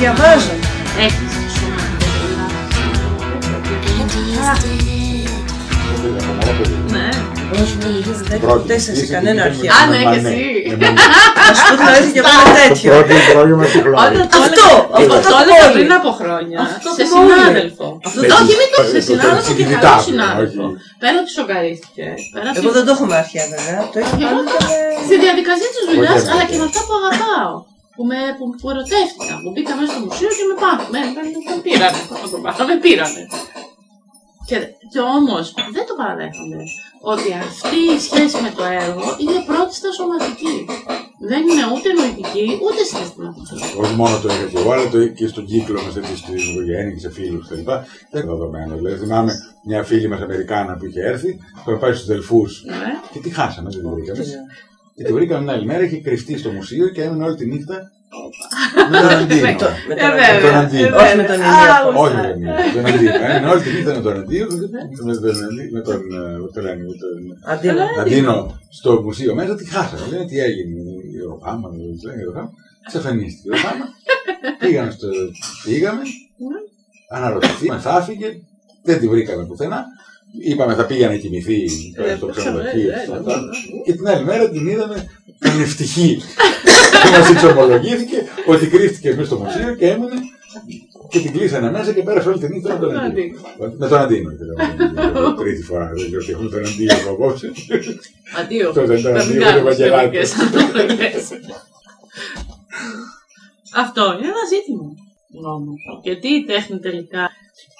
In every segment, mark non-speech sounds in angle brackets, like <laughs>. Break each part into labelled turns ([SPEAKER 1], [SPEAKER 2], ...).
[SPEAKER 1] διαβάζω.
[SPEAKER 2] Έχεις. Ναι.
[SPEAKER 1] Όχι, δεν έχω
[SPEAKER 3] Πρώτη.
[SPEAKER 1] τέσσερα σε
[SPEAKER 3] Είσαι
[SPEAKER 1] κανένα
[SPEAKER 3] και
[SPEAKER 1] αρχείο.
[SPEAKER 3] με-
[SPEAKER 2] Α, ναι,
[SPEAKER 3] Μα
[SPEAKER 2] και εσύ.
[SPEAKER 3] ναι, ναι.
[SPEAKER 1] Να σου πω δηλαδή και εγώ ένα
[SPEAKER 3] Το
[SPEAKER 1] τέτοιο.
[SPEAKER 3] πρώτο υπόγειο με τη
[SPEAKER 2] Όταν
[SPEAKER 3] Χλώρη.
[SPEAKER 2] το
[SPEAKER 1] Αυτό,
[SPEAKER 2] έλεγα-
[SPEAKER 1] αυτό
[SPEAKER 2] το
[SPEAKER 1] το
[SPEAKER 2] έλεγα
[SPEAKER 1] πόλι.
[SPEAKER 2] πριν από χρόνια.
[SPEAKER 1] Αυτό
[SPEAKER 2] σε
[SPEAKER 1] το πόλι.
[SPEAKER 2] συνάδελφο. Αυτό
[SPEAKER 3] Παίζεις-
[SPEAKER 2] το όχι, μην το σε
[SPEAKER 3] παίζεις το
[SPEAKER 2] συνάδελφο και
[SPEAKER 3] συνειδητά,
[SPEAKER 2] καλό
[SPEAKER 3] όχι.
[SPEAKER 2] συνάδελφο. Πέρα ότι σοκαρίστηκε. Πέρα
[SPEAKER 1] Εγώ
[SPEAKER 2] ότι.
[SPEAKER 1] δεν το έχω με αρχαία βέβαια. Το έχω
[SPEAKER 2] Εγώ
[SPEAKER 1] πάρει
[SPEAKER 2] το-
[SPEAKER 1] με-
[SPEAKER 2] Στη διαδικασία τη δουλειά,
[SPEAKER 3] Όχι,
[SPEAKER 2] αλλά
[SPEAKER 3] όχι.
[SPEAKER 2] και με αυτά που αγαπάω. Που με που, που ερωτεύτηκα. Που μπήκα μέσα στο μουσείο και με πάμε. Με, με, με πήρανε. Όσο πάνω, με πήρανε. Και, και όμω δεν το παραδέχομαι ότι αυτή η σχέση με το έργο είναι πρώτιστα σωματική. Δεν είναι ούτε νοητική ούτε συναισθηματική.
[SPEAKER 3] Όχι μόνο το είχα και εγώ, αλλά το είχα και στον κύκλο μα, στην οικογένεια και σε φίλου κτλ. Δεν είναι δεδομένο. Δηλαδή, θυμάμαι μια φίλη μα Αμερικάνα που είχε έρθει, που είχε πάει στου δελφού
[SPEAKER 2] Ναι.
[SPEAKER 3] και τη χάσαμε, δεν τη βρήκαμε. Και τη βρήκαμε την άλλη μέρα, είχε κρυφτεί στο μουσείο και έμεινε όλη τη νύχτα με τον
[SPEAKER 2] Με
[SPEAKER 3] Αντίνο.
[SPEAKER 2] το-
[SPEAKER 1] Με
[SPEAKER 2] Ε,
[SPEAKER 1] το-
[SPEAKER 2] βέβαια,
[SPEAKER 3] τον Αντίο.
[SPEAKER 2] ε, βέβαια.
[SPEAKER 1] Όχι με τον
[SPEAKER 2] Α,
[SPEAKER 1] Ηλιακό.
[SPEAKER 3] Όχι,
[SPEAKER 2] γουστά.
[SPEAKER 3] δεν είναι. Τον Αντίο. Έμεινε όλη τη νύχτα με τον Αντίο, με τον Αντί- με τον. ε, πώς το λένε, με τον-
[SPEAKER 1] Αντίνα.
[SPEAKER 3] Αντίνο στο μουσείο μέσα, τη χάσαμε. Λένε τι έγινε, η Ρομπάμα, δεν ξέρω, η Ρομπάμα. Ξαφανίστηκε η
[SPEAKER 2] <laughs>
[SPEAKER 3] Ρομπάμα. πήγαμε στο. Πήγαμε,
[SPEAKER 2] Ναι.
[SPEAKER 3] αναρωτηθήκαμε, χάθηκε, δεν τη βρήκαμε πουθενά. Είπαμε θα πήγαινε να κοιμηθεί τώρα στο ξενοδοχείο.
[SPEAKER 2] ε,
[SPEAKER 3] στο
[SPEAKER 2] ε,
[SPEAKER 3] αυτό.
[SPEAKER 2] ε, ε.
[SPEAKER 3] Και την άλλη μέρα την είδαμε πανευτυχή. και μα εξομολογήθηκε ότι κρύφτηκε μέσα στο μουσείο και έμεινε και την κλείσανε μέσα και πέρασε όλη την νύχτα με τον
[SPEAKER 2] Τον
[SPEAKER 3] Αντίνο. Με τον Αντίνο.
[SPEAKER 2] <laughs>
[SPEAKER 3] ήταν Τρίτη φορά, δεν ξέρω τι έχουμε τον Αντίνο από απόψε.
[SPEAKER 2] Αντίο.
[SPEAKER 3] Αυτό δεν ήταν
[SPEAKER 2] Να
[SPEAKER 3] αντίο,
[SPEAKER 2] μην
[SPEAKER 3] δεν
[SPEAKER 2] κάνουμε
[SPEAKER 3] βαγγελάτε.
[SPEAKER 2] συλλογικές αναλογές. Αυτό είναι ένα ζήτημα. Όμως. Γιατί η τέχνη τελικά.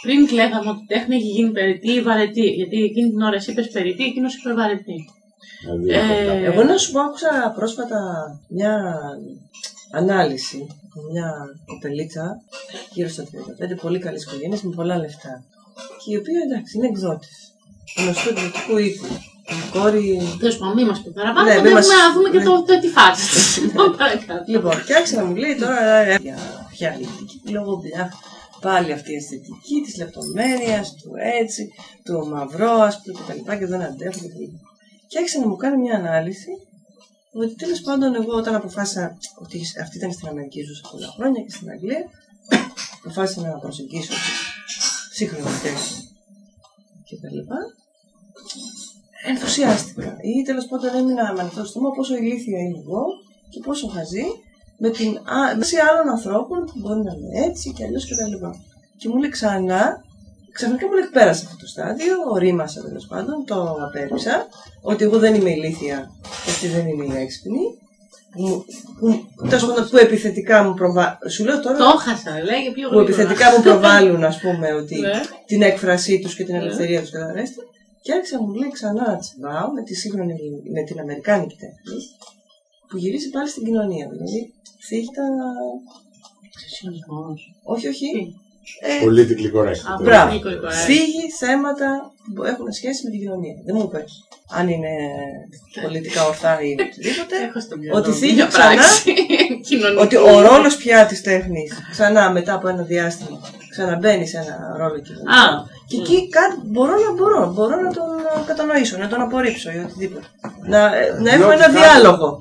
[SPEAKER 2] Πριν κλαίγαμε ότι η τέχνη έχει γίνει περιττή ή βαρετή. Γιατί εκείνη την ώρα εσύ είπε περιττή, εκείνο είπε βαρετή.
[SPEAKER 3] Δηλαδή,
[SPEAKER 2] Ε,
[SPEAKER 1] Εγώ να σου πω, άκουσα πρόσφατα μια ανάλυση από μια κοπελίτσα γύρω στα 35, πολύ καλή οικογένεια με πολλά λεφτά. Και η οποία εντάξει είναι εκδότη. Γνωστού εκδοτικού οίκου. Κόρη.
[SPEAKER 2] Τέλο πάντων, μην μα πει παραπάνω.
[SPEAKER 1] Ναι,
[SPEAKER 2] Ναι,
[SPEAKER 1] μην μας-
[SPEAKER 2] να δούμε και
[SPEAKER 1] ναι.
[SPEAKER 2] το, το τη φάση τη. Παρακάτω.
[SPEAKER 1] Λοιπόν, και άρχισε να μου λέει τώρα ε, για ποια λογική, λόγω πια πάλι αυτή η αισθητική τη λεπτομέρεια, του έτσι, του μαυρό, α πούμε και τα λοιπά και δεν αντέχω και τα λοιπά. Και άρχισε να μου κάνει μια ανάλυση ότι τέλο πάντων εγώ όταν αποφάσισα ότι αυτή ήταν στην Αμερική ζούσα πολλά χρόνια και στην Αγγλία, αποφάσισα να προσεγγίσω σύγχρονη τέχνη και τα λοιπά. Ενθουσιάστηκα ή τέλο πάντων έμεινα με ανοιχτό στο στόμα πόσο ηλίθια είμαι εγώ και πόσο χαζή με την α- μέση άλλων ανθρώπων που μπορεί να είναι έτσι και αλλιώ κτλ. Και μου λέει ξανά, ξαφνικά μου λέει πέρασε αυτό το στάδιο, ορίμασα τέλο πάντων, το απέριψα, ότι εγώ δεν είμαι ηλίθια και αυτή δεν είναι η έξυπνη. Που, μου- που, τέλος πάντων, που επιθετικά μου προβάλλουν. Σου λέω τώρα.
[SPEAKER 2] Το χάσα, λέγε πιο
[SPEAKER 1] που
[SPEAKER 2] γρήγορα.
[SPEAKER 1] επιθετικά μου προβάλλουν, α πούμε, ότι
[SPEAKER 2] Ναι.
[SPEAKER 1] την έκφρασή του και την
[SPEAKER 2] Ναι.
[SPEAKER 1] ελευθερία του καταρρέστη. Και άρχισα να μου λέει ξανά να τσιμπάω με τη σύγχρονη, με την Αμερικάνικη τέχνη, που γυρίζει πάλι στην κοινωνία. Δηλαδή, θύχητα.
[SPEAKER 2] Συσχετισμός.
[SPEAKER 1] Όχι, όχι.
[SPEAKER 2] Τι.
[SPEAKER 1] Ε,
[SPEAKER 3] Πολύ τυκλικορέκτη.
[SPEAKER 2] Α,
[SPEAKER 1] Μπράβο.
[SPEAKER 2] πολύ κορυφαίο.
[SPEAKER 1] Φύγει θέματα που έχουν σχέση με την κοινωνία. Δεν μου πες αν είναι πολιτικά ορθά ή οτιδήποτε.
[SPEAKER 2] Έχω στο μυαλό
[SPEAKER 1] Ότι
[SPEAKER 2] μου
[SPEAKER 1] θίγει
[SPEAKER 2] μια
[SPEAKER 1] ξανά.
[SPEAKER 2] πράξη <laughs> κοινωνική.
[SPEAKER 1] ότι ο ρόλος πια της τέχνης ξανά μετά από ένα διάστημα ξαναμπαίνει σε ένα ρόλο κοινωνικό.
[SPEAKER 2] Α,
[SPEAKER 1] Και
[SPEAKER 2] μ.
[SPEAKER 1] εκεί κάτι μπορώ να μπορώ, μπορώ να τον ε, κατανοήσω, να τον απορρίψω ή οτιδήποτε. Να, ε, να έχουμε
[SPEAKER 3] Διότι
[SPEAKER 1] ένα
[SPEAKER 3] κάτι-
[SPEAKER 1] διάλογο.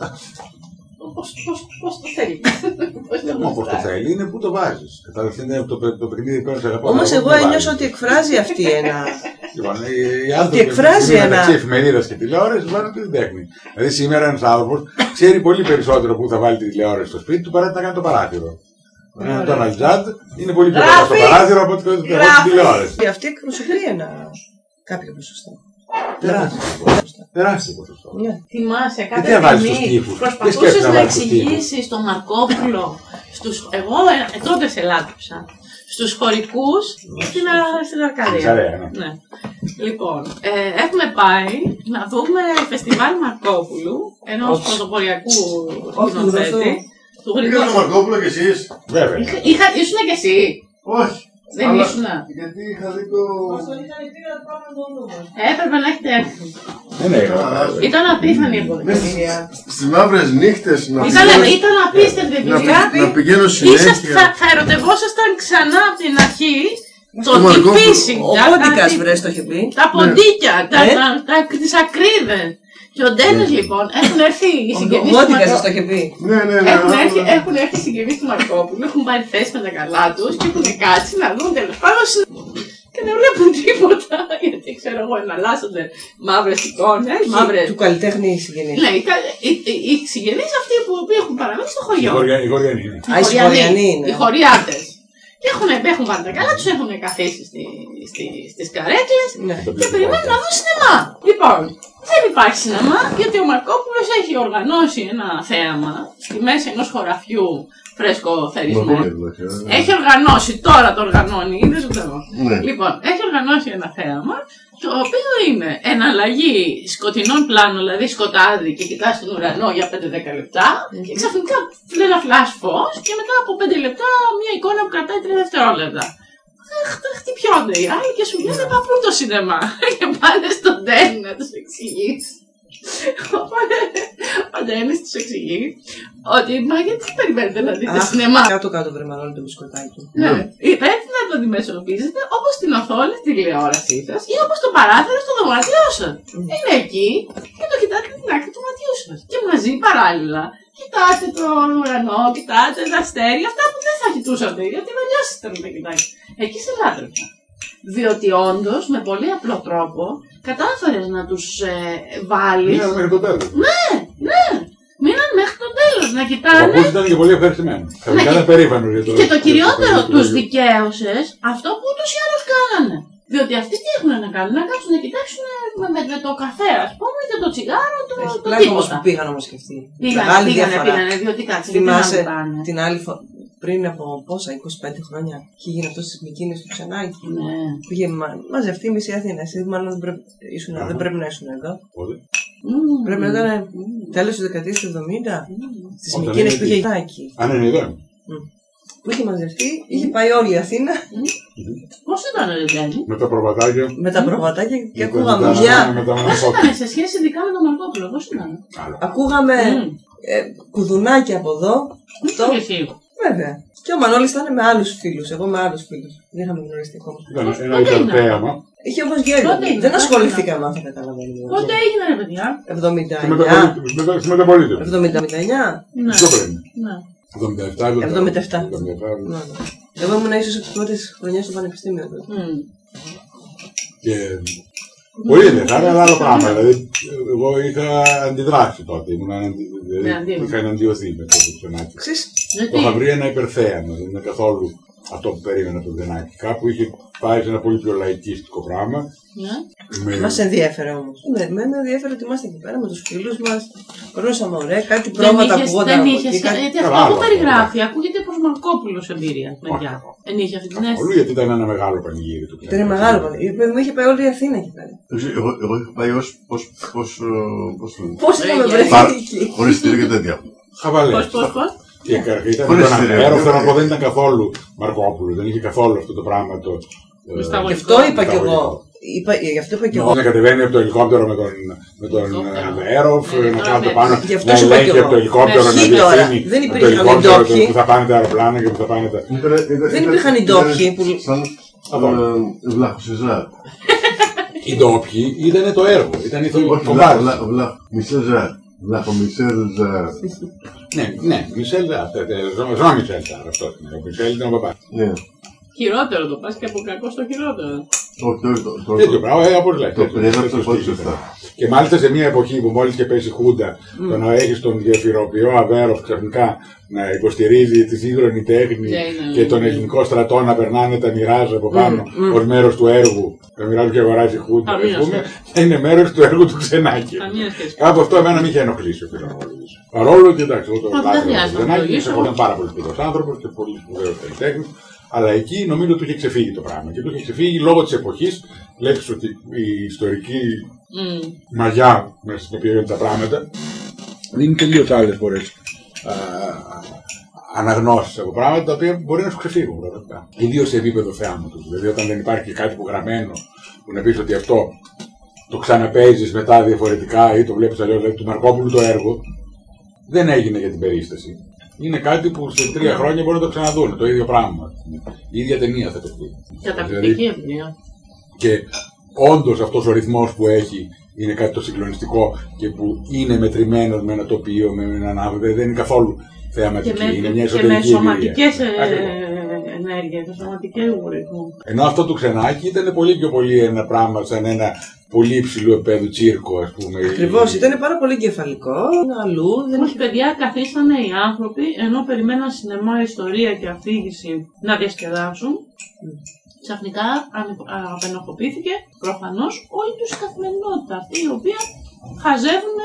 [SPEAKER 2] Πώς, πώς, πώς το θέλει. <laughs> πώς το
[SPEAKER 3] Δεν μου όπως το
[SPEAKER 2] γουστάρει.
[SPEAKER 3] θέλει, είναι που το βάζει. Κατάλαβε είναι το, παι- το παιχνίδι που σε αγαπάω.
[SPEAKER 1] Όμω
[SPEAKER 3] αλλά
[SPEAKER 1] εγώ
[SPEAKER 3] πού το
[SPEAKER 1] ένιωσα ότι
[SPEAKER 3] βάζεις.
[SPEAKER 1] εκφράζει αυτή ένα.
[SPEAKER 3] Λοιπόν, οι- οι άνθρωποι
[SPEAKER 1] εκφράζει
[SPEAKER 3] είναι
[SPEAKER 1] ένα-
[SPEAKER 3] μεταξύ εφημερίδα και τηλεόραση βάζουν και την τέχνη. Δηλαδή σήμερα ένα άνθρωπο ξέρει πολύ περισσότερο που θα βάλει τη τηλεόραση στο σπίτι του παρά τι να κάνει το παράθυρο. Ένα Ντόναλτ Τζαντ είναι πολύ πιο κοντά στο
[SPEAKER 2] Γράφει.
[SPEAKER 3] παράθυρο από ότι από την τηλεόραση.
[SPEAKER 1] Και αυτή εκπροσωπεί ένα κάποιο ποσοστό.
[SPEAKER 3] Τεράστιο.
[SPEAKER 1] Ποσοστό.
[SPEAKER 3] Τεράστιο ποσοστό.
[SPEAKER 1] Ναι.
[SPEAKER 2] Θυμάσαι
[SPEAKER 3] τι να
[SPEAKER 2] κάποια
[SPEAKER 3] βάλεις στους
[SPEAKER 2] στιγμή
[SPEAKER 3] τοίχους, τι σκέφτεσαι
[SPEAKER 2] προσπαθούσες
[SPEAKER 3] να
[SPEAKER 2] να
[SPEAKER 3] βάλεις στους τοίχους.
[SPEAKER 2] εξηγήσει τον Μαρκόπουλο στους... Εγώ ε, τότε σε λάτρεψα. Στους χωρικούς στην, Α- στην
[SPEAKER 3] Στην
[SPEAKER 2] Αρκαδία.
[SPEAKER 3] Σαρέα, ναι.
[SPEAKER 2] Ναι. Λοιπόν, ε, έχουμε πάει να δούμε φεστιβάλ Μαρκόπουλου, ενός
[SPEAKER 1] Όχι.
[SPEAKER 2] πρωτοποριακού
[SPEAKER 1] Όχι, γνωστού.
[SPEAKER 2] σκηνοθέτη. Του
[SPEAKER 4] Πήγα
[SPEAKER 2] Γρηγόρη.
[SPEAKER 4] στο Μαρκόπουλο κι εσείς.
[SPEAKER 3] Βέβαια.
[SPEAKER 2] Είχα- είχα- Ήσουν κι εσύ.
[SPEAKER 4] Όχι.
[SPEAKER 2] Δεν
[SPEAKER 4] Αλλά-
[SPEAKER 2] ήσουνα.
[SPEAKER 4] Γιατί είχα δει το...
[SPEAKER 2] Ε, Έπρεπε να έχετε έρθει.
[SPEAKER 1] Ε,
[SPEAKER 3] Ναι, ναι, ναι.
[SPEAKER 2] Ήταν απίθανη η
[SPEAKER 4] Μες
[SPEAKER 2] εμπορική.
[SPEAKER 4] στις- στις μαύρες νύχτες να
[SPEAKER 2] Ήταν,
[SPEAKER 4] πηγαίνω-
[SPEAKER 2] ήταν απίστευτη η
[SPEAKER 4] να πη-
[SPEAKER 2] εμπειρία.
[SPEAKER 4] να πηγαίνω
[SPEAKER 2] Είσαστε, θα,
[SPEAKER 4] συνέχεια.
[SPEAKER 2] θα ερωτευόσασταν ξανά από την αρχή το
[SPEAKER 4] Στο
[SPEAKER 2] τι
[SPEAKER 4] Μαρκόπουλο.
[SPEAKER 2] φύση.
[SPEAKER 1] Ο
[SPEAKER 2] τα- τα-
[SPEAKER 4] Ναι.
[SPEAKER 1] Κώντικας βρες το είχε πει.
[SPEAKER 2] Τα ποντίκια, τα,
[SPEAKER 1] Ε.
[SPEAKER 2] τα, τα, τις ακρίδες. Και ο Ντένι λοιπόν έχουν έρθει οι συγγενεί
[SPEAKER 1] Ο
[SPEAKER 2] του
[SPEAKER 1] Γκότικα σα
[SPEAKER 2] Μαρκόπουλου.
[SPEAKER 1] το είχε πει.
[SPEAKER 4] Ναι, ναι, ναι.
[SPEAKER 2] Έχουν
[SPEAKER 4] άκουγα.
[SPEAKER 2] έρθει, έχουν έρθει οι συγγενείς του Μαρκόπουλου, έχουν πάρει θέση με τα καλά του και έχουν κάτσει να δουν τέλο πάντων. συ- Και δεν βλέπουν τίποτα. Γιατί ξέρω εγώ, εναλλάσσονται μαύρε εικόνε, μαύρε.
[SPEAKER 1] Του καλλιτέχνη συγγενή.
[SPEAKER 2] Λέει, κα- οι- οι- οι συγγενεί αυτοί που, που έχουν παραμείνει στο χωριό.
[SPEAKER 3] Η Γοργιανή είναι.
[SPEAKER 2] Οι
[SPEAKER 1] Α, οι Χωριανοί είναι.
[SPEAKER 2] ναι, Οι χωριάτε. Έχουν, έχουν πάρει τα καλά του, έχουν καθίσει στι στη, στις καρέκλες
[SPEAKER 1] Ναι.
[SPEAKER 3] Το
[SPEAKER 2] και
[SPEAKER 3] πλήρω
[SPEAKER 2] περιμένουν
[SPEAKER 3] παράδειγμα.
[SPEAKER 2] να δουν σινεμά. Λοιπόν, δεν υπάρχει σινεμά γιατί ο Μαρκόπουλο έχει οργανώσει ένα θέαμα στη μέση ενό χωραφιού φρέσκο
[SPEAKER 4] Μπορεί,
[SPEAKER 2] θερισμένο.
[SPEAKER 4] εντάξει, ναι.
[SPEAKER 2] Έχει οργανώσει, τώρα το οργανώνει, δεν σου ξέρω.
[SPEAKER 4] Ναι.
[SPEAKER 2] Λοιπόν, έχει οργανώσει ένα θέαμα το οποίο είναι εναλλαγή σκοτεινών πλάνων, δηλαδή σκοτάδι και κοιτά τον ουρανό για 5-10 λεπτά και ξαφνικά λέει ένα flash φω και μετά από 5 λεπτά μια εικόνα που κρατάει 3 δευτερόλεπτα. Ε, χτ- Χτυπιώνται οι άλλοι και σου λένε μα πού είναι το σινεμά <laughs> και πάνε στον Ντένι να τους εξηγήσει. Οπότε ο Ντένις τους εξηγεί ότι μα γιατί περιμένετε να δείτε
[SPEAKER 1] Αχ,
[SPEAKER 2] σινεμά.
[SPEAKER 1] Κάτω-κάτω βρεμαλώνει το μπισκοτάκι.
[SPEAKER 2] Ναι. Ή Πρέπει να το αντιμετωπίζετε όπω την οθόνη τη τηλεόρασή σα ή όπω το παράθυρο στο δωμάτιό σα. Είναι εκεί και το κοιτάτε την άκρη του ματιού σα. Και μαζί παράλληλα κοιτάτε τον ουρανό, κοιτάτε τα αστέρια, αυτά που δεν θα κοιτούσατε γιατί βελιά ήταν να τα κοιτάξετε. Εκεί σε λάτρεψα. Διότι όντω με πολύ απλό τρόπο κατάφερε να ε, του βάλει.
[SPEAKER 3] Μείναμε μέχρι το τέλο.
[SPEAKER 2] Ναι, Μείναν μέχρι το τέλο να
[SPEAKER 3] Ο
[SPEAKER 2] κοιτάνε
[SPEAKER 3] παππούς ήταν και πολύ ευχαριστημένο. Ξαφνικά
[SPEAKER 2] ναι. και-
[SPEAKER 3] ήταν περήφανο για το.
[SPEAKER 2] Και το κυριότερο,
[SPEAKER 3] για το-
[SPEAKER 2] του δικαίωσε αυτό που ούτω ή άλλω κάνανε. Διότι αυτοί τι έχουν να κάνουν, να κάτσουν να κοιτάξουν με, με, με το καφέ, α πούμε, και το τσιγάρο, το,
[SPEAKER 1] Έχει
[SPEAKER 2] το
[SPEAKER 1] πλάκα όμω
[SPEAKER 2] τίποτα.
[SPEAKER 1] που πήγαν όμω και αυτοί.
[SPEAKER 2] Πήγανε,
[SPEAKER 1] Μεγάλη
[SPEAKER 2] πήγανε,
[SPEAKER 1] διαφορά.
[SPEAKER 2] πήγανε, διότι κάτσε, δεν πήγανε να
[SPEAKER 1] Θυμάσαι
[SPEAKER 2] πάνε.
[SPEAKER 1] την άλλη φορά. Πριν από πόσα, 25 χρόνια, είχε γίνει αυτό στι Μικίνε του Ξενάκη.
[SPEAKER 2] Ναι.
[SPEAKER 1] Πήγε μα- μαζευτεί η μισή Αθήνα. Εσύ μάλλον δεν πρέπει, ήσουν,
[SPEAKER 3] Άρα.
[SPEAKER 1] δεν πρέπει να ήσουν εδώ.
[SPEAKER 3] Πότε?
[SPEAKER 2] Μμμ.
[SPEAKER 1] Πρέπει να ήταν
[SPEAKER 2] Μμμ.
[SPEAKER 1] τέλο τη δεκαετία του 70.
[SPEAKER 2] Μμμ.
[SPEAKER 1] Στι
[SPEAKER 3] Όταν
[SPEAKER 1] Μικίνε
[SPEAKER 3] είναι
[SPEAKER 1] που είχε Ξενάκη.
[SPEAKER 3] Αν είναι εδώ.
[SPEAKER 1] Που είχε μαζευτεί, είχε πάει όλη η Αθήνα
[SPEAKER 2] Πώς ήταν ο Ρεντένι.
[SPEAKER 3] Με τα προβατάκια.
[SPEAKER 1] με τα προβατάκια και
[SPEAKER 3] με τα-
[SPEAKER 1] ακούγαμε γεια.
[SPEAKER 3] Με τα
[SPEAKER 2] Πώς
[SPEAKER 3] μανασόπια.
[SPEAKER 2] ήταν σε σχέση ειδικά με τον Μαρκόπουλο, πώς ήταν.
[SPEAKER 3] Άλλο.
[SPEAKER 1] Ακούγαμε
[SPEAKER 2] Μμμ.
[SPEAKER 1] ε, κουδουνάκια από εδώ.
[SPEAKER 2] Και
[SPEAKER 1] Αυτό.
[SPEAKER 2] εσύ.
[SPEAKER 1] Βέβαια. Και ο Μανώλη ήταν με άλλου φίλου. Εγώ με άλλου φίλου. Δεν είχαμε γνωριστεί ακόμα.
[SPEAKER 3] Ήταν
[SPEAKER 2] Πώς-
[SPEAKER 3] ένα
[SPEAKER 2] πότε είναι?
[SPEAKER 3] υπερθέαμα.
[SPEAKER 1] Είχε όμω γέλιο.
[SPEAKER 2] Πότε είναι,
[SPEAKER 1] Δεν
[SPEAKER 2] πότε
[SPEAKER 1] ασχοληθήκαμε αν θα καταλαβαίνουμε.
[SPEAKER 2] Πότε έγινε ρε παιδιά.
[SPEAKER 1] 79.
[SPEAKER 3] Στη μεταπολίτη- μετα- Στη μεταπολίτευση.
[SPEAKER 1] 79.
[SPEAKER 2] Ναι,
[SPEAKER 3] Πιο πριν.
[SPEAKER 2] ναι.
[SPEAKER 3] 77.
[SPEAKER 1] 77.
[SPEAKER 3] 77.
[SPEAKER 1] Ναι, ναι. Εγώ ήμουν ίσω από τι πρώτε χρονιέ στο πανεπιστήμιο. τότε.
[SPEAKER 2] Μμμ.
[SPEAKER 3] Και πολύ ενδιαφέρον, αλλά άλλο πράγμα.
[SPEAKER 2] Ναι.
[SPEAKER 3] Δηλαδή, εγώ είχα αντιδράσει τότε. Ήμουν αντι- δηλαδή,
[SPEAKER 2] Ναι, αντίδραση.
[SPEAKER 3] είχα εναντιωθεί με το Ξενάκι.
[SPEAKER 1] Ξέρεις,
[SPEAKER 3] Το
[SPEAKER 2] Γιατί.
[SPEAKER 3] είχα βρει ένα υπερθέαμα, δεν είναι καθόλου αυτό που περίμενα από τον Δενάκη. Κάπου είχε πάει σε ένα πολύ πιο λαϊκίστικο πράγμα.
[SPEAKER 2] Ναι.
[SPEAKER 3] Με...
[SPEAKER 1] Μα ενδιέφερε όμω. Με Ναι, εμένα ενδιαφέρε ότι ήμασταν εκεί πέρα με του φίλου μα. Περνούσαμε ωραία, κάτι
[SPEAKER 2] Δεν
[SPEAKER 1] πρόβατα
[SPEAKER 2] είχες,
[SPEAKER 1] ακουγόταν.
[SPEAKER 2] δεν
[SPEAKER 1] από
[SPEAKER 2] είχες, ε,
[SPEAKER 1] εκεί, κάτι-
[SPEAKER 2] γιατί
[SPEAKER 3] Καλά,
[SPEAKER 2] αυτό που
[SPEAKER 3] άλλο.
[SPEAKER 2] περιγράφει ακούγεται προς Μαρκόπουλος εμπειρία, παιδιά.
[SPEAKER 3] Όχι.
[SPEAKER 2] Δεν είχε αυτή την
[SPEAKER 3] Καθόλου,
[SPEAKER 2] αίσθηση.
[SPEAKER 3] γιατί ήταν ένα μεγάλο πανηγύρι του
[SPEAKER 1] Ήταν μεγάλο πανηγύρι. Μου είχε πάει όλη η Αθήνα εκεί πέρα.
[SPEAKER 4] Εγώ, εγώ είχα πάει ως, ως, ως, ε, πώς το λένε,
[SPEAKER 1] Πώ είχαμε
[SPEAKER 2] Ε,
[SPEAKER 4] Πάρα-
[SPEAKER 1] βρεθεί εκεί.
[SPEAKER 4] χωρίς εισιτήριο και τέτοια.
[SPEAKER 3] Χαβαλέ.
[SPEAKER 2] Πώς, πώς, πώς.
[SPEAKER 3] Και καρχή ήταν
[SPEAKER 4] Χωρίς
[SPEAKER 3] το ένα
[SPEAKER 4] ιδέα.
[SPEAKER 3] μέρο, θέλω να πω, δεν ήταν καθόλου Μαρκόπουλο, δεν είχε καθόλου αυτό το πράγμα το. ε,
[SPEAKER 2] Μισθαγωγικό.
[SPEAKER 1] Γι' αυτό είπα κι εγώ.
[SPEAKER 3] Μεταβολικό.
[SPEAKER 1] Είπα- Γι' αυτό είπα κι εγώ.
[SPEAKER 3] Να κατεβαίνει από το ελικόπτερο με τον, με τον
[SPEAKER 2] Ελικόπτερο.
[SPEAKER 3] αέροφ,
[SPEAKER 2] Ναι,
[SPEAKER 3] να
[SPEAKER 2] τώρα
[SPEAKER 3] κάθεται
[SPEAKER 2] με-
[SPEAKER 3] πάνω,
[SPEAKER 1] Γι' αυτό
[SPEAKER 3] να
[SPEAKER 1] σου είπα κι
[SPEAKER 3] ελέγχει
[SPEAKER 1] εγώ.
[SPEAKER 3] από το ελικόπτερο, να
[SPEAKER 1] Αρχή τώρα. Δεν
[SPEAKER 3] διευθύνει από το
[SPEAKER 1] υπήρχαν
[SPEAKER 3] ελικόπτερο
[SPEAKER 1] ντόπιοι.
[SPEAKER 3] το- που θα πάνε τα αεροπλάνα και που θα πάνε τα.
[SPEAKER 4] Ήταν- ήταν-
[SPEAKER 1] Δεν
[SPEAKER 4] ήταν-
[SPEAKER 1] υπήρχαν οι
[SPEAKER 4] ήταν
[SPEAKER 1] ντόπιοι που-
[SPEAKER 4] Σαν ε, βλάχος Ζάρ.
[SPEAKER 3] Οι ντόπιοι ήταν το έργο, ήταν η
[SPEAKER 4] Όχι,
[SPEAKER 3] κομπάρι.
[SPEAKER 4] βλάχο, βλάχο, βλάχο. Μισελ Ζάρ. Βλάχο Μισελ Ζάρ.
[SPEAKER 3] Ναι, ναι, Μισελ Ζάρ, τε- τε- ζω- ζω Μισελ Ζάρ, αυτό είναι. Ο Μισελ ήταν ο παπά.
[SPEAKER 4] Ναι.
[SPEAKER 2] Χειρότερο το πας και από κακό στο χειρότερο.
[SPEAKER 4] Όχι, το- το- το-
[SPEAKER 3] Τέτοιο πράγμα, ε, όπω λέει.
[SPEAKER 4] Το
[SPEAKER 3] τέτοιο,
[SPEAKER 4] περιέγραψε
[SPEAKER 3] τέτοιο
[SPEAKER 4] πολύ
[SPEAKER 3] στυλ
[SPEAKER 4] σωστά.
[SPEAKER 3] ήταν. Και μάλιστα σε μια εποχή που μόλι και πέσει η Χούντα, το να έχει τον γεφυροποιό Αβέροφ ξαφνικά να υποστηρίζει τη σύγχρονη τέχνη
[SPEAKER 2] Και είναι-
[SPEAKER 3] και τον ελληνικό στρατό να περνάνε τα μοιράζ από πάνω
[SPEAKER 1] μμ.
[SPEAKER 3] ω μέρο του έργου. Τα μοιράζ που αγοράζει η Χούντα,
[SPEAKER 2] Καμία
[SPEAKER 3] α πούμε,
[SPEAKER 2] σχέση.
[SPEAKER 3] θα είναι μέρο του έργου του ξενάκι.
[SPEAKER 2] Καμία σχέση.
[SPEAKER 3] Κάπου αυτό εμένα με είχε ενοχλήσει ο φιλοξενούμενος. Παρόλο ότι εντάξει, εγώ το
[SPEAKER 2] Μα, δεν
[SPEAKER 3] λάθο
[SPEAKER 2] χρειάζεται να το λύσω.
[SPEAKER 3] ήταν πάρα πολύ σπουδαίο άνθρωπο και πολύ σπουδαίο καλλιτέχνη. Αλλά εκεί νομίζω του είχε ξεφύγει το πράγμα. Και του είχε ξεφύγει λόγω τη εποχή. Λέξει ότι η ιστορική
[SPEAKER 2] Μμμ.
[SPEAKER 3] μαγιά μέσα στην οποία είναι τα πράγματα δίνει τελείω άλλε φορέ αναγνώσει από πράγματα τα οποία μπορεί να σου ξεφύγουν πραγματικά. Ιδίω σε επίπεδο θεάματο. Δηλαδή, όταν δεν υπάρχει κάτι που γραμμένο που να πει ότι αυτό το ξαναπέζει μετά διαφορετικά ή το βλέπει αλλιώ. Δηλαδή, του Μαρκόπουλου το έργο δεν έγινε για την περίσταση. Είναι κάτι που σε τρία χρόνια μπορεί να το ξαναδούν. Το ίδιο πράγμα. Η ίδια ταινία θα το πει. Δηλαδή,
[SPEAKER 2] Καταπληκτική εμπειρία.
[SPEAKER 3] και όντω αυτό ο ρυθμό που έχει είναι κάτι το συγκλονιστικό και που είναι μετρημένο με ένα τοπίο, με έναν άνθρωπο. Δεν είναι καθόλου
[SPEAKER 2] Και
[SPEAKER 3] θεαματική. είναι μια
[SPEAKER 2] με, και με
[SPEAKER 3] εσωτερική εμπειρία.
[SPEAKER 2] σωματικές
[SPEAKER 3] Ακριβώς.
[SPEAKER 2] ε, ενέργειες, με σωματικού ρυθμού.
[SPEAKER 3] Ενώ αυτό του ξενάκι ήταν πολύ πιο πολύ ένα πράγμα σαν ένα πολύ υψηλού επέδου τσίρκο, α πούμε.
[SPEAKER 1] Ακριβώ, ήταν πάρα πολύ εγκεφαλικό. Είναι αλλού, δεν
[SPEAKER 2] Όμω,
[SPEAKER 1] έχει
[SPEAKER 2] παιδιά, καθίσανε οι άνθρωποι ενώ περιμέναν σινεμά, ιστορία και αφήγηση να διασκεδάσουν. Ξαφνικά ανε- α, απενοχοποιήθηκε προφανώ όλη του η καθημερινότητα. Αυτή η οποία χαζεύουν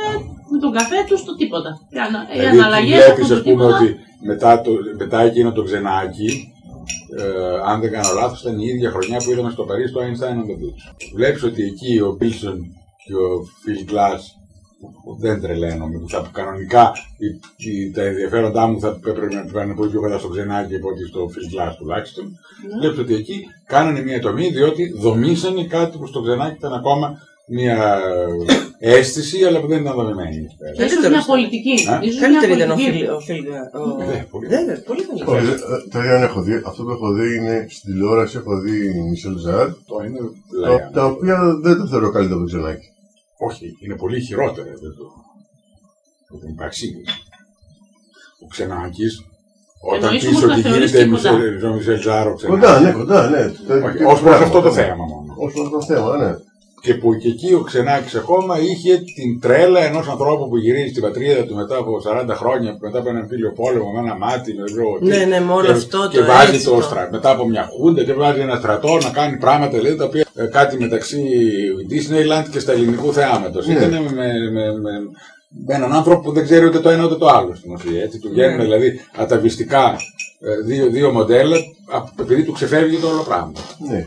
[SPEAKER 2] με τον καφέ του το τίποτα. Και ανα- Ε,
[SPEAKER 3] Δηλαδή,
[SPEAKER 2] Οι αναλλαγέ από
[SPEAKER 3] βλέπει,
[SPEAKER 2] το
[SPEAKER 3] α πούμε,
[SPEAKER 2] τίποτα.
[SPEAKER 3] ότι μετά, το, μετά εκείνο το ξενάκι, ε, αν δεν κάνω λάθο, ήταν η ίδια χρονιά που είδαμε στο Παρίσι το Einstein on the Beach. Βλέπει ότι εκεί ο Πίλσον και ο Φιλ Glass δεν τρελαίνομαι. Που θα, κανονικά η- η- τα ενδιαφέροντά μου θα έπρεπε να πάνε πολύ πιο κοντά στο ξενάκι από ότι στο Φιλ Glass τουλάχιστον.
[SPEAKER 2] Ναι.
[SPEAKER 3] Βλέπετε ότι εκεί κάνανε μια τομή διότι δομήσανε κάτι που στο ξενάκι ήταν ακόμα μια αίσθηση, αλλά που δεν ήταν δομημένη. εκεί πέρα.
[SPEAKER 2] Και ίσως
[SPEAKER 1] Καλύτερο
[SPEAKER 2] μια
[SPEAKER 1] ήταν.
[SPEAKER 2] πολιτική.
[SPEAKER 3] Α,
[SPEAKER 2] Ίσως μια
[SPEAKER 1] Καλύτερη ήταν ο
[SPEAKER 2] πολιτική.
[SPEAKER 1] Φίλ. Ο Φίλ- ο-
[SPEAKER 3] Ναι, πολύ.
[SPEAKER 1] Βέβαια, πολύ
[SPEAKER 4] Το
[SPEAKER 1] καλύτερο.
[SPEAKER 4] ίδιο δεν έχω δει. Αυτό που έχω δει είναι στην τηλεόραση. Έχω δει Μισελ Ζαρ.
[SPEAKER 3] Το είναι.
[SPEAKER 4] τα- Τα οποία δεν το θεωρώ καλύτερο από το Ξενάκι.
[SPEAKER 3] Όχι, είναι πολύ χειρότερα. Δεν το. Δεν υπάρχει σύγκριση. Ο Ξενάκη, όταν
[SPEAKER 2] Εννοείς
[SPEAKER 3] πει
[SPEAKER 2] όμως να
[SPEAKER 3] ότι
[SPEAKER 2] θεωρείς
[SPEAKER 3] γίνεται
[SPEAKER 2] κοντά.
[SPEAKER 3] Μισελ Ζάρο
[SPEAKER 4] Κοντά, ναι, κοντά, ναι. Το ίδιο-
[SPEAKER 3] Ω προ
[SPEAKER 4] πράγμα,
[SPEAKER 3] αυτό το
[SPEAKER 4] ναι.
[SPEAKER 3] θέμα μόνο.
[SPEAKER 4] Ως προς αυτό το θέμα, ναι.
[SPEAKER 3] Και που και εκεί ο Ξενάκη ακόμα είχε την τρέλα ενό ανθρώπου που γυρίζει στην πατρίδα του μετά από 40 χρόνια, μετά από έναν πύλιο πόλεμο, με ένα μάτι, με ξέρω εγώ τι.
[SPEAKER 1] Ναι, ναι, με όλο
[SPEAKER 3] και,
[SPEAKER 1] αυτό
[SPEAKER 3] Ε, και
[SPEAKER 1] το
[SPEAKER 3] βάζει
[SPEAKER 1] έτσι
[SPEAKER 3] το,
[SPEAKER 1] το-
[SPEAKER 3] στρα... μετά από μια χούντα και βάζει ένα στρατό να κάνει πράγματα δηλαδή, τα οποία ε, κάτι μεταξύ Disneyland και στα ελληνικού θεάματος.
[SPEAKER 4] Ναι.
[SPEAKER 3] Ήταν με, με, με, με- με έναν άνθρωπο που δεν ξέρει ούτε το ένα ούτε το άλλο στην ουσία. Έτσι. Του βγαίνουν
[SPEAKER 1] Ναι.
[SPEAKER 3] δηλαδή αταβιστικά ε, δύο, δύο μοντέλα α- επειδή του ξεφεύγει το όλο πράγμα.
[SPEAKER 4] Ναι.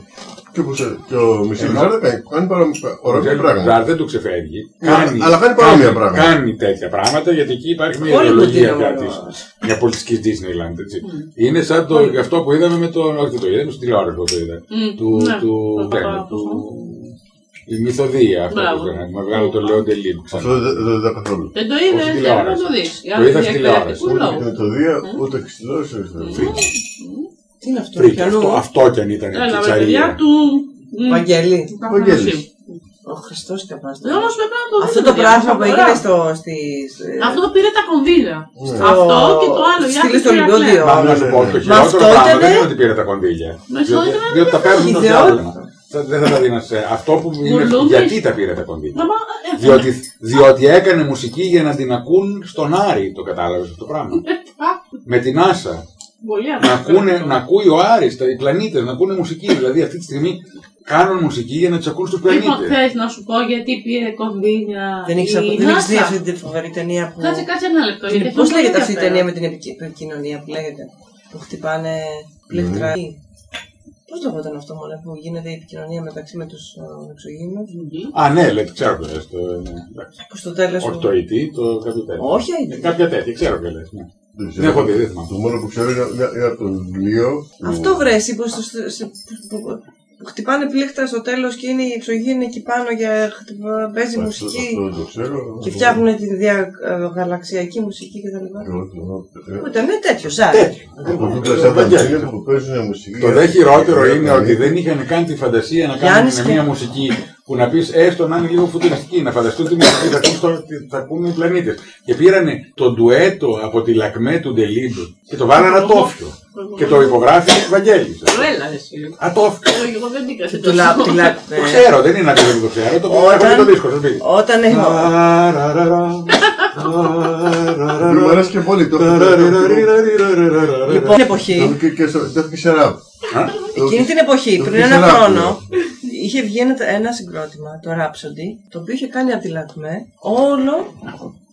[SPEAKER 4] Και όπως ε, και ο Μισελ
[SPEAKER 3] Ενώ-
[SPEAKER 4] Ζαρ δεν κάνει- κάνει παρόμοια
[SPEAKER 3] Ξέρει,
[SPEAKER 4] ωραία
[SPEAKER 3] ο
[SPEAKER 4] πράγματα.
[SPEAKER 3] Ζαρ δεν του ξεφεύγει.
[SPEAKER 4] Ναι, αλλά κάνει παρόμοια πράγματα.
[SPEAKER 3] Κάνει τέτοια πράγματα γιατί εκεί υπάρχει μια
[SPEAKER 1] Όλοι
[SPEAKER 3] ιδεολογία
[SPEAKER 1] μου
[SPEAKER 3] πια
[SPEAKER 1] δίνουν.
[SPEAKER 3] της- Μια πολιτική Disneyland. Έτσι.
[SPEAKER 1] Ναι.
[SPEAKER 3] Είναι σαν το, αυτό που είδαμε με τον. Όχι, δεν το είδαμε στην τηλεόραση που το είδα.
[SPEAKER 2] Μμ,
[SPEAKER 3] του,
[SPEAKER 2] ναι,
[SPEAKER 3] του,
[SPEAKER 2] το
[SPEAKER 3] ναι,
[SPEAKER 2] πάω
[SPEAKER 3] του,
[SPEAKER 2] αυτό.
[SPEAKER 3] η μυθοδία αυτό
[SPEAKER 2] Μπράβο.
[SPEAKER 3] που έκανε. Με βγάλω το Λεόν Τελίν
[SPEAKER 4] Αυτό
[SPEAKER 3] ξανά.
[SPEAKER 4] δεν δεν τα καθόλου.
[SPEAKER 2] Δεν το είδε,
[SPEAKER 3] στην
[SPEAKER 2] δεν να
[SPEAKER 3] τηλεόραση.
[SPEAKER 2] το δει.
[SPEAKER 3] Το είδα στην τηλεόραση. ναι.
[SPEAKER 4] Ούτε με το δύο,
[SPEAKER 1] Ναι.
[SPEAKER 4] ούτε και στη τηλεόραση, δεν ξέρω.
[SPEAKER 1] Τι είναι αυτό,
[SPEAKER 3] Φρίκι, αυτό,
[SPEAKER 1] πιανού.
[SPEAKER 3] αυτό κι αν ήταν
[SPEAKER 2] Έλα, ρε, παιδιά
[SPEAKER 3] πιτσαρία.
[SPEAKER 2] του. μ,
[SPEAKER 1] Βαγγέλη.
[SPEAKER 4] Βαγγέλης.
[SPEAKER 1] Ο Χριστό και
[SPEAKER 2] Ε, Όμως πρέπει να το
[SPEAKER 1] Αυτό
[SPEAKER 2] δείτε,
[SPEAKER 1] το
[SPEAKER 2] παιδιά,
[SPEAKER 1] πράγμα που
[SPEAKER 2] σοβαρά.
[SPEAKER 1] έγινε στο. στις, ε,
[SPEAKER 2] Αυτό το πήρε τα κονδύλια.
[SPEAKER 4] Ναι.
[SPEAKER 2] Αυτό και το άλλο.
[SPEAKER 1] Στη
[SPEAKER 2] η άκρη
[SPEAKER 1] λίστα
[SPEAKER 2] του Ηρακλέα.
[SPEAKER 1] Ολυμπιοδίου.
[SPEAKER 3] Μα να σου πω, το χειρότερο
[SPEAKER 1] αυτό
[SPEAKER 3] πράγμα
[SPEAKER 1] ήταν-
[SPEAKER 3] δεν είναι ότι πήρε τα κονδύλια.
[SPEAKER 2] Μα αυτό
[SPEAKER 3] Διότι-
[SPEAKER 2] ήταν-
[SPEAKER 3] Διότι τα παίρνουν στο
[SPEAKER 1] Ιδεότητα.
[SPEAKER 3] διάλειμμα. Δεν θα τα δίνω σε αυτό που είναι.
[SPEAKER 2] Γουρλούδες.
[SPEAKER 3] Γιατί τα πήρε τα κονδύλια.
[SPEAKER 2] Μα, μα, ε,
[SPEAKER 3] Διότι, διότι έκανε μουσική για να την ακούν στον Άρη, το κατάλαβε αυτό το πράγμα.
[SPEAKER 2] α,
[SPEAKER 3] Με την Άσα.
[SPEAKER 2] ε, Πολύ
[SPEAKER 3] να,
[SPEAKER 2] άκρη.
[SPEAKER 3] ακούνε, να ακούει ο Άρης, τα- οι πλανήτε, να ακούνε μουσική. Δηλαδή αυτή τη στιγμή κάνουν μουσική για να του ακούν στου
[SPEAKER 2] Λοιπόν,
[SPEAKER 3] πλανήτε.
[SPEAKER 2] θε να σου πω γιατί πήρε κονδύλια.
[SPEAKER 1] Δεν
[SPEAKER 2] η
[SPEAKER 1] έχεις απο- δεν έχεις δει
[SPEAKER 2] NASA.
[SPEAKER 1] αυτή τη φοβερή ταινία που.
[SPEAKER 2] Κάτσε, κάτσε ένα λεπτό. γιατί
[SPEAKER 1] Πώ
[SPEAKER 2] αυτό είναι
[SPEAKER 1] λέγεται αυτή η
[SPEAKER 2] ενδιαφέρον.
[SPEAKER 1] ταινία με την επικοι- επικοινωνία που λέγεται. Που χτυπάνε πλεκτρά.
[SPEAKER 4] Ναι.
[SPEAKER 1] Πώ το λεγόταν αυτό μόνο που γίνεται η επικοινωνία μεταξύ με του εξωγήινου.
[SPEAKER 3] Α, ναι, λέει, ξέρω ποιο λες, το, ναι, εντάξει.
[SPEAKER 1] Που στο τέλο.
[SPEAKER 3] Όχι το ET, το κάποιο τέτοιο.
[SPEAKER 1] Όχι,
[SPEAKER 3] Ε,
[SPEAKER 1] έγινε.
[SPEAKER 3] Κάποια τέτοια, ξέρω ποιο λες, Ναι.
[SPEAKER 4] Δεν
[SPEAKER 3] Δεν έχω δει,
[SPEAKER 4] ξέρω.
[SPEAKER 3] δεν θυμάμαι.
[SPEAKER 4] Το μόνο που ξέρω είναι- είναι είναι από το βιβλίο. που-
[SPEAKER 1] Αυτό βρέσει που, στο- στο- σε- που- που χτυπάνε πλήκτρα στο τέλο και είναι οι εξωγήινοι εκεί πάνω και χτυπά- παίζει
[SPEAKER 4] Αυτό-
[SPEAKER 1] μουσική.
[SPEAKER 4] αυτό δεν το ξέρω.
[SPEAKER 1] Και φτιάχνουν τη διαγαλαξιακή μουσική κτλ.
[SPEAKER 4] Εγώ το- ε,
[SPEAKER 1] Που ήταν ναι, τέτοιο, ζάρι.
[SPEAKER 3] Τέτοιο.
[SPEAKER 4] έχω δει
[SPEAKER 3] Ε,
[SPEAKER 4] πλαστά
[SPEAKER 3] το Βαγγέλη.
[SPEAKER 4] βαγγέλια που παίζουν μουσική.
[SPEAKER 3] Το δε
[SPEAKER 4] Ναι,
[SPEAKER 3] χειρότερο είναι ότι δεν είχαν καν τη φαντασία να κάνουν
[SPEAKER 1] Γιάννης και-
[SPEAKER 3] μια μουσική που να πει έστω να είναι λίγο φουτουριστική, να φανταστούν τι μουσική θα ακούν στο- τι θα ακούνε οι πλανήτε. Και πήρανε το ντουέτο από τη λακμέ του Ντελίντου και το βάλανε ατόφιο. Και το υπογράφει Βαγγέλης.
[SPEAKER 2] Έλα, εσύ.
[SPEAKER 3] Ατόφιο.
[SPEAKER 2] Εγώ- Εγώ δεν την
[SPEAKER 1] Του λα- τη λα-
[SPEAKER 3] Το
[SPEAKER 1] ε,
[SPEAKER 3] ξέρω, δεν είναι αυτό που το ξέρω. Το έχω
[SPEAKER 1] Όταν-
[SPEAKER 3] δει το δίσκο στο σπίτι.
[SPEAKER 1] Όταν έχω.
[SPEAKER 4] Μου αρέσει και πολύ. Το έχω- το έχω-
[SPEAKER 1] Λοιπόν, την εποχή.
[SPEAKER 4] το έχω και- και στο- το έχω και σε ραπ. Το-
[SPEAKER 1] Εκείνη την εποχή,
[SPEAKER 4] το
[SPEAKER 1] πριν
[SPEAKER 4] Fisher
[SPEAKER 1] ένα
[SPEAKER 4] Rap,
[SPEAKER 1] χρόνο, είχε βγει ένα, ένα συγκρότημα, το Rhapsody, το οποίο είχε κάνει από τη Λακμέ όλο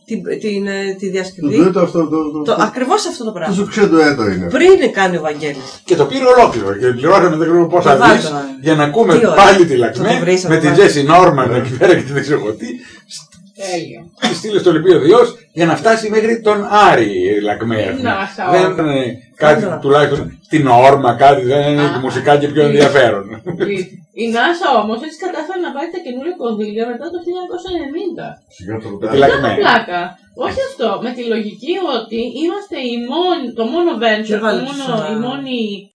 [SPEAKER 1] την, την, ε, τη
[SPEAKER 4] Το
[SPEAKER 1] διασκευή.
[SPEAKER 4] ντουέτο αυτό. το- το-
[SPEAKER 1] το,
[SPEAKER 4] το-
[SPEAKER 1] ακριβώς αυτό το
[SPEAKER 4] Το
[SPEAKER 1] πράγμα.
[SPEAKER 4] σου ξέρω το έτο είναι.
[SPEAKER 1] Πριν κάνει ο Βαγγέλης.
[SPEAKER 3] Και το πήρε ολόκληρο. Και πληρώσαμε δεν ξέρω
[SPEAKER 1] Το
[SPEAKER 3] πόσα δις
[SPEAKER 1] βάλτο, ε.
[SPEAKER 3] για να ακούμε
[SPEAKER 1] Τι ωραία.
[SPEAKER 3] πάλι τη
[SPEAKER 1] Το
[SPEAKER 3] Λακμέ
[SPEAKER 1] το βρήκα,
[SPEAKER 3] με
[SPEAKER 1] το
[SPEAKER 3] την
[SPEAKER 1] βάλτο.
[SPEAKER 3] Τζέσι Νόρμαν εκεί πέρα και δεν ξέρω εγώ τι. Τη στείλε στο Ολυμπίο Διός για να φτάσει μέχρι τον Άρη η Λακμέ. αυτή.
[SPEAKER 2] Να, σαν
[SPEAKER 3] Δεν
[SPEAKER 2] όλα.
[SPEAKER 3] ήταν ε, κάτι
[SPEAKER 1] Καλά.
[SPEAKER 3] τουλάχιστον την όρμα, κάτι δεν είναι
[SPEAKER 2] Α.
[SPEAKER 3] μουσικά και πιο
[SPEAKER 2] Ε.
[SPEAKER 3] ενδιαφέρον.
[SPEAKER 2] Η NASA όμω έτσι κατάφερε να πάρει τα καινούργια κονδύλια μετά το 1990.
[SPEAKER 4] Σιγά το
[SPEAKER 3] Με τη Λακμέ.
[SPEAKER 2] Πλάκα. Όχι αυτό. Με τη λογική ότι είμαστε η μόνη, το μόνο venture,
[SPEAKER 1] Και
[SPEAKER 2] το
[SPEAKER 1] βάλε τους,
[SPEAKER 2] μόνο,
[SPEAKER 1] α,
[SPEAKER 2] η μόνη